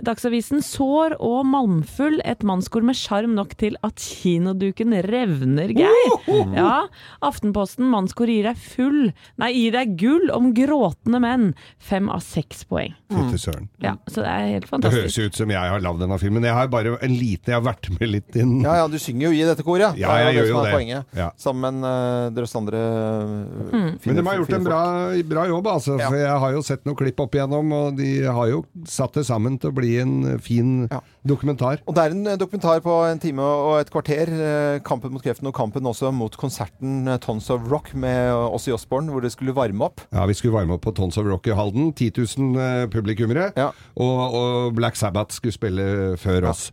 B: Dagsavisen sår og malmfull, et mannskor med sjarm nok til at kinoduken revner, Geir. Ja, Aftenposten, mannskor gir deg full, nei, gir deg gull om gråtende menn. Fem av seks poeng.
A: Fytti søren.
B: Ja, så det er helt
A: Det høres
B: fantastisk.
A: jo ut som jeg har lagd denne filmen. Jeg har bare en liten jeg har vært med litt i den.
C: Ja, ja, du synger jo i dette koret.
A: Ja, jeg
C: det
A: gjør
C: som
A: jo
C: er
A: det.
C: Poenget.
A: Ja.
C: Sammen med en drøss andre øh, fine-
A: Men de har gjort
C: fine
A: en
C: folk.
A: bra, bra jobb, altså.
C: Ja.
A: For jeg har jo sett noen klipp opp igjennom, og de har jo satt det sammen til å bli en fin
C: Ja.
A: dokumentar.
C: Og det er en eh, dokumentar på en time og et kvarter. eh, Kampen mot kreften og kampen også mot konserten eh, Tons of Rock med eh, Ozzy Osbourne, hvor det skulle varme opp.
A: Ja, Vi skulle varme opp på Tons of Rock i Halden. 10 000 eh, publikummere.
C: Ja.
A: Og, og Black Sabbath skulle spille før oss.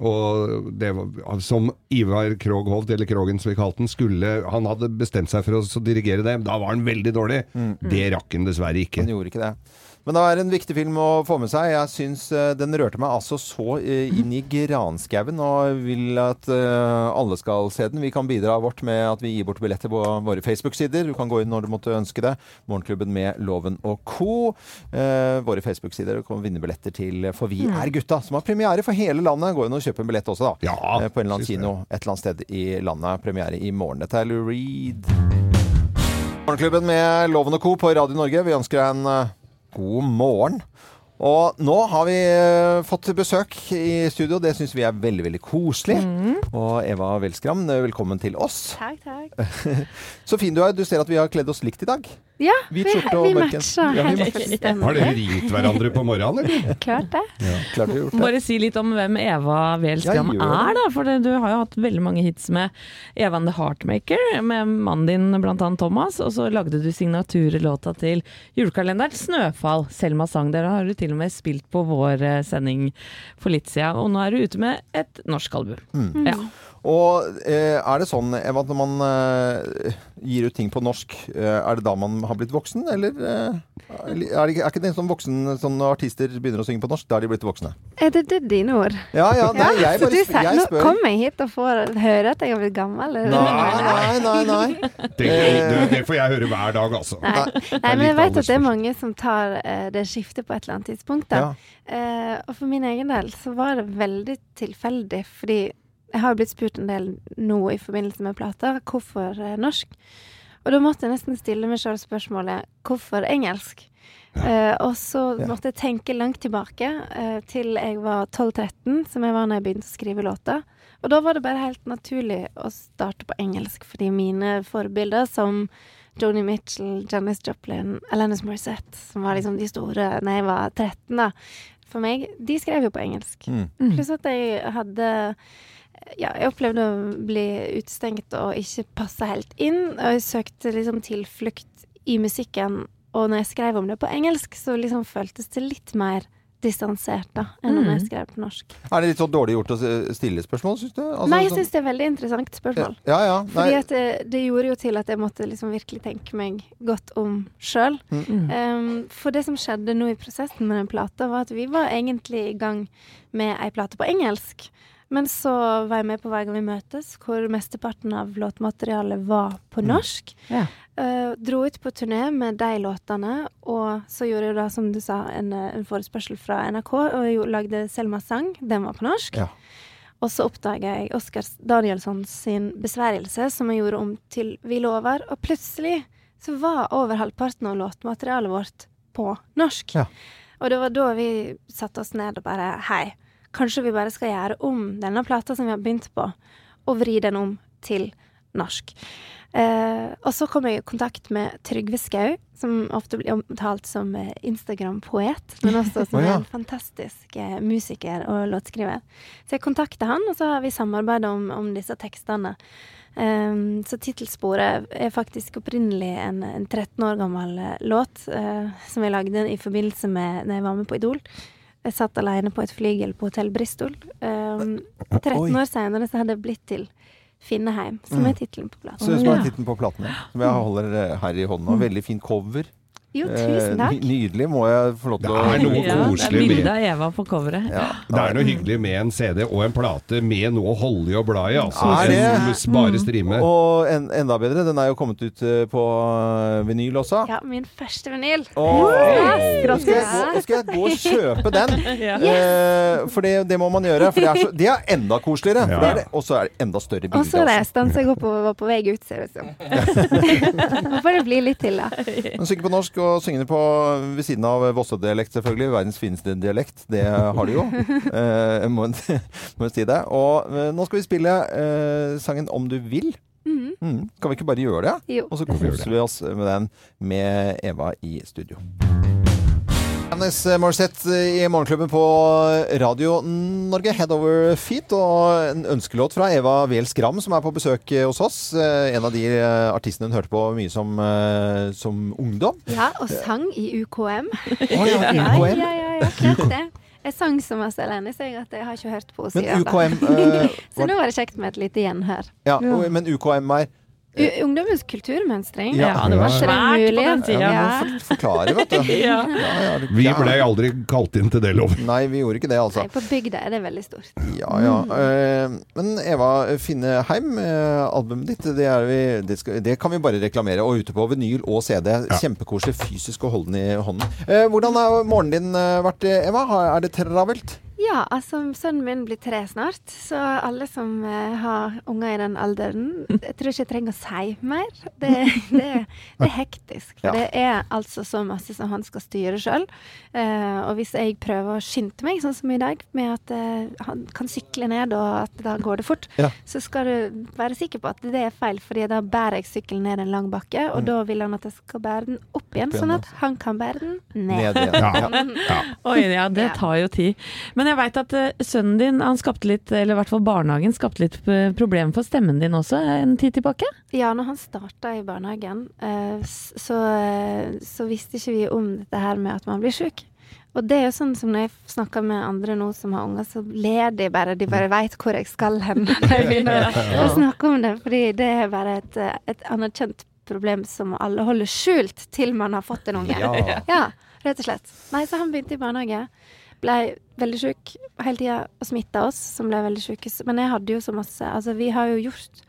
A: Og det var, som Ivar Kroghovd, eller Krogen som vi kalte den, skulle Han hadde bestemt seg for å så dirigere det. Da var han veldig dårlig.
C: Mm.
A: Det rakk han dessverre ikke.
C: Den gjorde ikke det. Men det er en viktig film å få med seg. Jeg syns eh, Den rørte meg altså så eh, inn i granskauen, og vil at eh, alle skal se den. Vi kan bidra vårt med at vi gir bort billetter på våre Facebook-sider. Du kan gå inn når du måtte ønske det. Morgenklubben med Loven og co. Eh, Våre Facebook-sider Du kan vinne billetter til For vi er gutta, som har premiere for hele landet. Gå inn og kjøp en billett også, da.
A: Ja,
C: Eh, på en eller annen
A: syns det.
C: kino et eller annet sted i landet. Premiere i morgen. Dette er Lou Reed. Morgenklubben med Loven og Co. på Radio Norge. Vi ønsker deg en eh, god morgen. Og nå har vi eh, fått besøk i studio. Det syns vi er veldig veldig koselig. Og Eva Welskram, eh, velkommen til oss.
J: Takk, takk.
C: Så fin du er. Du ser at vi har kledd oss likt i dag.
J: Ja, vi,
C: Hvit skjorte og
J: vi
C: mørk
J: matcher.
C: genser. Ja, vi
J: Herregud,
A: Har
J: stemmer
A: dere
J: det.
A: ringt hverandre på morgenen, eller?
J: Klart det.
C: Klart vi har gjort det.
B: Bare si litt om hvem Eva Welskram
C: Ja, gjør det.
B: er, da. For det- du har jo hatt veldig mange hits med Eva and the Heartmaker, med mannen din blant annet Thomas. Og så lagde du signaturlåta til julekalenderen 'Snøfall'. Selma sang der, og har du til og med spilt på vår eh, sending for litt siden. Og nå er du ute med et norsk album.
C: Mm.
B: Ja.
C: Og eh, er det sånn, Eva, at når man eh, gir ut ting på norsk, eh, er det da man har blitt voksen? Eller eh, er, det, er ikke det sånn voksen sånn når artister begynner å synge på norsk, da er de blitt voksne?
J: Er det, det er dine ord?
C: Ja, ja, nei, jeg
J: så
C: bare
J: du
C: sp-
J: sa-
C: jeg spør.
J: Nå kom jeg hit og får høre at jeg har blitt gammel. eller?
C: Nei, nei, nei. nei.
A: Det, det, det får jeg høre hver dag, altså.
J: Nei. Nei, men
A: litt
J: jeg vet at det er
A: aldersforskjell.
J: mange som tar eh, det skiftet på et eller annet tidspunkt. Da.
C: Ja.
J: Eh, og for min egen del så var det veldig tilfeldig, fordi jeg har jo blitt spurt en del nå i forbindelse med plater, hvorfor eh, norsk? Og da måtte jeg nesten stille meg sjøl spørsmålet hvorfor engelsk? Eh, og så
C: Ja.
J: måtte jeg tenke langt tilbake, eh, til jeg var 12-13, som jeg var når jeg begynte å skrive låter. Og da var det bare helt naturlig å starte på engelsk, fordi mine forbilder som Joni Mitchell, Janis Joplin, Alanis Morissette, som var liksom de store da jeg var 13, da, for meg, de skrev jo på engelsk.
C: Mm.
J: Pluss at jeg hadde ja, jeg opplevde å bli utestengt og ikke passe helt inn. Og jeg søkte liksom tilflukt i musikken. Og når jeg skrev om det på engelsk, så liksom føltes det litt mer distansert da, enn om jeg
C: Mm.
J: skrev på norsk.
C: Er det litt sånn dårlig gjort å s- stille spørsmål, syns du? Altså,
J: Nei, jeg
C: sånn-
J: syns det er veldig interessant spørsmål.
C: Ja, ja.
J: Fordi
C: Nei.
J: at det, det gjorde jo til at jeg måtte liksom virkelig tenke meg godt om sjøl. Ehm,
C: Mm.
J: for det som skjedde nå i prosessen med den plata, var at vi var egentlig i gang med ei plate på engelsk. Men så var jeg med på Hver gang vi møtes, hvor mesteparten av låtmaterialet var på
C: Mm.
J: norsk. Eh, dro ut på turné med de låtene, og så gjorde jeg da, som du sa, en, eh, en forespørsel fra NRK, og jeg gjorde- lagde Selma sang. Den var på norsk. Og så oppdaga jeg Oskar Danielsson sin besvergelse, som jeg gjorde om til Vi lover, og plutselig så var over halvparten av låtmaterialet vårt på norsk. Og det var da vi satte oss ned og bare Hei, kanskje vi bare skal gjøre om denne plata som vi har begynt på, og vri den om til norsk. Eh, og så kom jeg i kontakt med Trygve Skau, som ofte blir omtalt som eh, Instagram-poet, men også som
G: Å, ja.
J: en fantastisk eh, musiker og låtskriver. Så jeg kontakta han, og så har vi samarbeida om, om disse tekstene. Ehm, så tittelsporet er faktisk opprinnelig en, en 13 år gammel eh, låt eh, som jeg lagde i forbindelse med når jeg var med på Idol. Jeg satt alene på et flygel på Hotell Bristol. Ehm, 13
C: Oi.
J: år seinere så hadde det blitt til Finneheim, som
C: Mm.
J: er tittelen på plata.
C: Så det som er tittelen på platen, som jeg holder eh, her i hånda. Veldig fin cover.
J: Mm. Jo,
C: Eh,
J: tusen takk.
C: ny- Nydelig, må jeg få lov til å
A: Det er noe
B: Ja, det er
A: koselig med
B: bilde av Eva på coveret.
A: Det er noe hyggelig med en CD og en plate med noe å holde i og bla i, altså. enn
C: Er det?
A: Bare streame.
C: Og en, enda bedre, den er jo kommet ut eh, på eh, vinyl også.
J: Ja, min første vinyl.
C: Åh,
J: Yes!
C: nå skal jeg gå- nå skal jeg gå og kjøpe den. Eh, for det, det må man gjøre. For det er, så, det er enda koseligere. for det er det- Og så er det enda større
J: Og
C: bilde.
J: så
C: altså.
J: reiste han seg opp og var på vei ut, ser det ut som. Håper det blir litt til, da.
C: Men synge på norsk, og synge det på ved siden av Vossa-dialekt, selvfølgelig. Verdens fineste dialekt. Det har de jo. Eh, jeg må, må jeg si det. Og eh, nå skal vi spille eh, sangen Om du vil.
J: Mhm.
C: Mm. Kan vi ikke bare gjøre det?
J: Jo.
C: Og så koser vi oss med den med Eva i studio. Agnes Morissette i Morgenklubben på Radio Norge, Head Over Feet, og en ønskelåt fra Eva Wehl Skram, som er på besøk hos oss. Eh, En av de eh, artistene hun hørte på mye som, eh, som ungdom.
J: Ja, og sang i UKM.
C: ja,
J: ja,
C: UKM.
J: ja, ja, ja, klart det. Jeg sang så masse alene, så jeg at jeg har ikke hørt på henne
C: Men
J: siden. da.
C: UKM, eh,
J: så nå var det kjekt med et lite gjenhør.
C: Ja, og- Men UKM er
J: U Ungdommens kulturmønstring.
C: Ja, Ja, det var
J: Ikke
B: svært på
J: mulig.
B: den tiden.
J: Ja.
C: Ja, men for- Forklare, vet du.
J: Ja.
C: ja, det-
A: Vi ble aldri kalt inn til det, lov.
C: Nei, vi gjorde ikke det, altså.
J: Nei, på bygda er det veldig stort.
C: Ja, ja. Eh, Men Eva Finneheim, eh, albumet ditt, det, er vi, det, skal, det kan vi bare reklamere. Og ute på vinyl og CD. Kjempekoselig fysisk å holde den i hånden. Eh, Hvordan har morgenen din eh, vært, eh, Eva? Har- Er det travelt?
J: Ja, altså sønnen min blir tre snart, så alle som eh, har unger i den alderen, jeg tror ikke jeg trenger å si mer. Det, det, det er hektisk. For
G: Ja.
J: det er altså så masse som han skal styre sjøl. og hvis jeg prøver å skynde meg, sånn som i dag, med at eh, han kan sykle ned og at da går det fort,
G: Ja.
J: så skal du være sikker på at det er feil, fordi da bærer jeg sykkelen ned en lang bakke, og
G: Mm.
J: da vil han at jeg skal bære den opp igjen,
B: Opp igjen,
J: sånn at han kan bære den ned.
B: Ned igjen, ja. Oi, ja, det tar jo tid. Men jeg veit at eh, sønnen din, han skapte litt, eller i hvert fall barnehagen, skapte litt eh, problem for stemmen din også eh, en tid tilbake?
J: Ja, når han starta i barnehagen, eh, s- så, eh, så visste ikke vi om dette her med at man blir sjuk. Og det er jo sånn som når jeg snakker med andre nå som har unger, så ler de bare. De bare veit hvor jeg skal hen når jeg begynner å- å snakke om det. Fordi det er bare et, eh, et anerkjent problem som alle holder skjult til man har fått en unge.
G: Ja.
J: ja, rett og slett. Nei, så han begynte i barnehage. Blei veldig sjuk hele tida og smitta oss, som ble veldig sjuke. Men jeg hadde jo så masse Altså, vi har jo gjort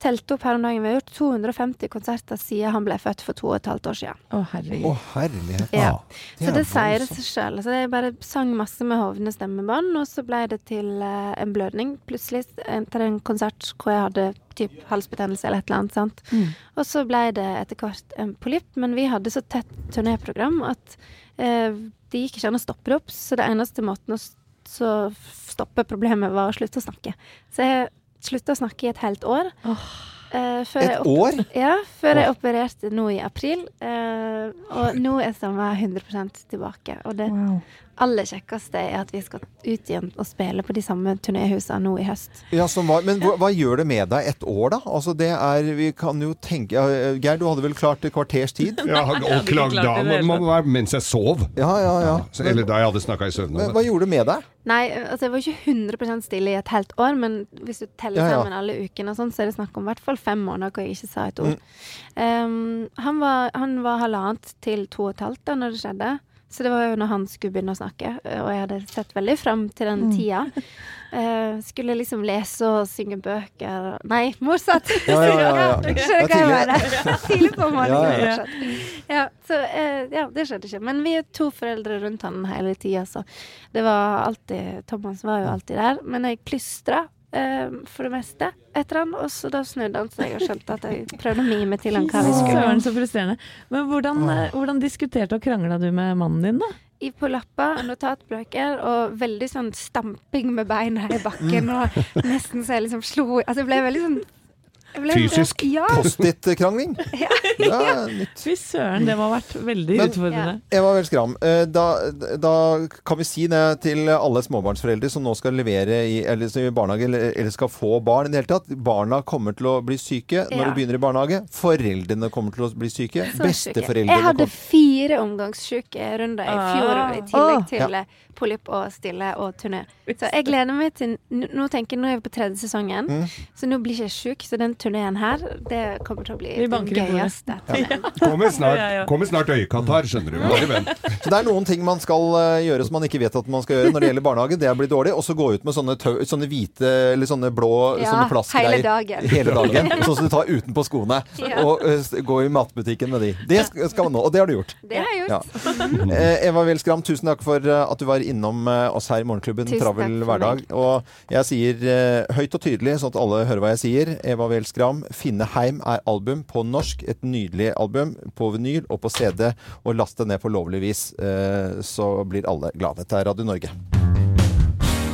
J: telt opp her om dagen. Vi har gjort 250 konserter siden han ble født for to og et halvt år siden.
B: Å, herregud.
C: Å, herlighet. Ah.
J: Ja.
C: Det
J: Så
C: er
J: det sier det
C: voldsomt.
J: seg sjøl. Altså, jeg bare sang masse med hovne stemmebånd, og så ble det til eh, en blødning plutselig etter en konsert hvor jeg hadde typ halsbetennelse eller et eller annet. sant?
C: Mm.
J: Og så ble det etter hvert en polypp, men vi hadde så tett turnéprogram at eh, det gikk ikke an å stoppe det opp, så det eneste måten å s- så stoppe problemet var å slutte å snakke. Så jeg slutta å snakke i et helt år. Eh, før
G: Et
J: jeg opp-
G: år?
J: Ja, før jeg
G: Åh.
J: opererte nå i april. eh, og nå er Stamma 100 tilbake. Og det aller kjekkeste er at vi skal ut igjen og spille på de samme turnéhusene nå i høst.
C: Ja, som var, men hva, hva gjør det med deg et år, da? Altså det er, vi kan jo tenke ja, eh, Geir, du hadde vel klart et kvarters tid?
A: Ja, og klag da må- må være mens jeg sov.
C: Ja, ja, ja.
A: Så, eller da jeg hadde snakka i søvne.
C: Men Hva gjorde det med deg?
J: Nei, altså jeg var ikke 100 stille i et helt år, men hvis du teller
C: Ja, ja.
J: sammen alle ukene, og sånn, så er det snakk om i hvert fall fem måneder hvor jeg ikke sa et ord.
K: Mm.
J: Um, han, var, han var halvannet til to og et halvt da når det skjedde, så det var jo når han skulle begynne å snakke, og jeg hadde sett veldig fram til den
K: Mm.
J: tida. Uh, skulle liksom lese og synge bøker Nei, motsatt!
K: Ja, ja, ja, ja.
J: Jeg skjønner
K: Det
J: hva
K: er
J: jeg mener.
K: tidlig.
J: Tidlig på
K: Ja,
J: morgenen.
K: ja.
J: fortsatt. Ja, så, eh, ja, det skjedde ikke. Men vi er to foreldre rundt han hele tida, så det var alltid Thomas var jo alltid der. Men jeg plystra eh, for det meste etter han, og så da snudde han, så jeg har skjønt at jeg prøvde å mime til han hva vi
B: Søren,
J: skulle.
B: så frustrerende. Men hvordan, eh, hvordan diskuterte og krangla du med mannen din, da?
J: I på lapper, notatbløker og veldig sånn stamping med beina i bakken. Og nesten så jeg liksom slo Altså jeg ble veldig sånn jeg ble-
C: Fysisk
J: Ja.
C: Post-it-krangling? eh, Ja,
B: Fy søren, det må ha vært veldig
C: Men-
B: utfordrende.
C: Eva Weel Skram, eh, da, da kan vi si det til alle småbarnsforeldre som nå skal levere i, eller, som i barnehage, eller, eller skal få barn i det hele tatt. Barna kommer til å bli syke når
J: Ja.
C: de begynner i barnehage. Foreldrene kommer til å bli syke.
J: Så syke.
C: Besteforeldrene
J: Jeg hadde
C: kommer
J: fire omgangssyke runder i fjor,
K: Ah.
J: i tillegg
K: Ah.
J: til
C: Ja.
J: eh, polypp og stille og turné. Så jeg gleder meg til n- Nå tenker jeg, nå er vi på tredje sesongen,
C: Mm.
J: så nå blir ikke jeg sjuk. Så den turneen her, det kommer til å bli
B: Vi
J: den
B: banker i bordet.
J: gøyeste. turneen.
A: Kommer snart,
B: Ja, ja, ja.
A: kommer snart øyekatarr, skjønner du. Bare vent.
C: Så det er noen ting man skal eh, gjøre som man ikke vet at man skal gjøre når det gjelder barnehage. Det blir dårlig. Og så gå ut med sånne, tau, sånne hvite eller sånne blå
J: Ja,
C: sånne plastgreier.
J: hele dagen.
C: Hele dagen. Sånn som du tar utenpå skoene.
J: Ja.
C: Og eh, s- gå i matbutikken med de. Det sk- skal man nå. Og det har du gjort.
J: Det har jeg gjort.
C: Ja. Eh, Eva Weel Skram, tusen takk for eh, at du var innom eh, oss her i Morgenklubben
J: Tusen takk
C: Travel
J: for
C: hverdag. Og jeg sier eh, høyt og tydelig, sånn at alle hører hva jeg sier. Eva Weel Skram, 'Finneheim' er album på norsk. Et nydelig album på vinyl og på CD. Og last det ned på lovlig vis, eh, så blir alle glade. Dette er Radio Norge.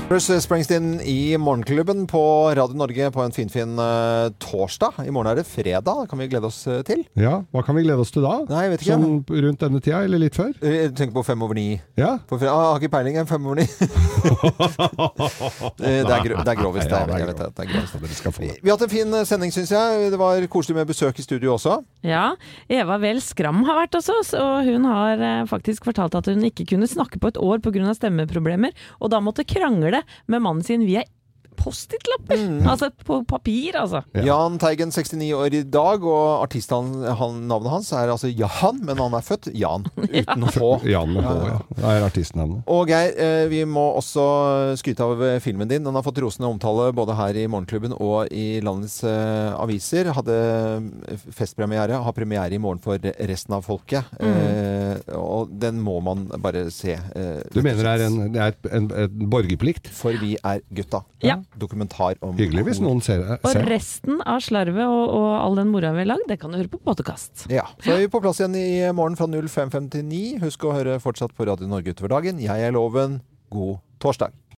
C: Bruce Springsteen i Morgenklubben på Radio Norge på en finfin eh, torsdag. I morgen er det fredag, det kan vi glede oss eh, til.
A: Ja, hva kan vi glede oss til da?
C: Nei, jeg vet ikke.
A: Sånn rundt denne tida, eller litt før?
C: Eh, Du tenker på fem over ni?
A: Ja.
C: På fre- ah, jeg har ikke peiling, jeg. Fem over ni. Eh, det, er gro det er grovest.
A: Ja,
C: det er, jeg vet det, det er grovest.
A: Dere skal få det.
C: Vi har hatt en fin eh, sending, syns jeg. Det var koselig med besøk i studio også.
B: Ja, Eva Vel Skram har vært hos oss, og hun har eh, faktisk fortalt at hun ikke kunne snakke på et år pga. stemmeproblemer, og da måtte krangle med mannen sin via Post-it-lapper!
C: Mm.
B: Altså på papir, altså.
C: Jan Teigen, 69 år i dag, og artistnavnet han, navnet hans er altså Jahan, men han er født Jan, uten H.
A: Jan med H,
C: Ja, ja.
A: ja. Det er artistnavnet.
C: Og Geir, eh, vi må også skryte av eh, filmen din. Den har fått rosende omtale både her i Morgenklubben og i landets eh, aviser. Hadde festpremiere, har premiere i morgen for resten av folket. Eh, og den må man bare se. eh,
A: Du mener det er en, det er et- en, en borgerplikt?
C: For vi er gutta.
B: Ja.
C: Dokumentar om
A: Hyggelig hvis noen ser
B: Og
A: ser.
B: resten av slarvet og, og all den moroa vi har lagd, det kan du høre på podkast.
C: Ja. Så er vi på plass igjen i morgen fra 05.59. Husk å høre fortsatt på Radio Norge utover dagen. Jeg er Loven. God torsdag.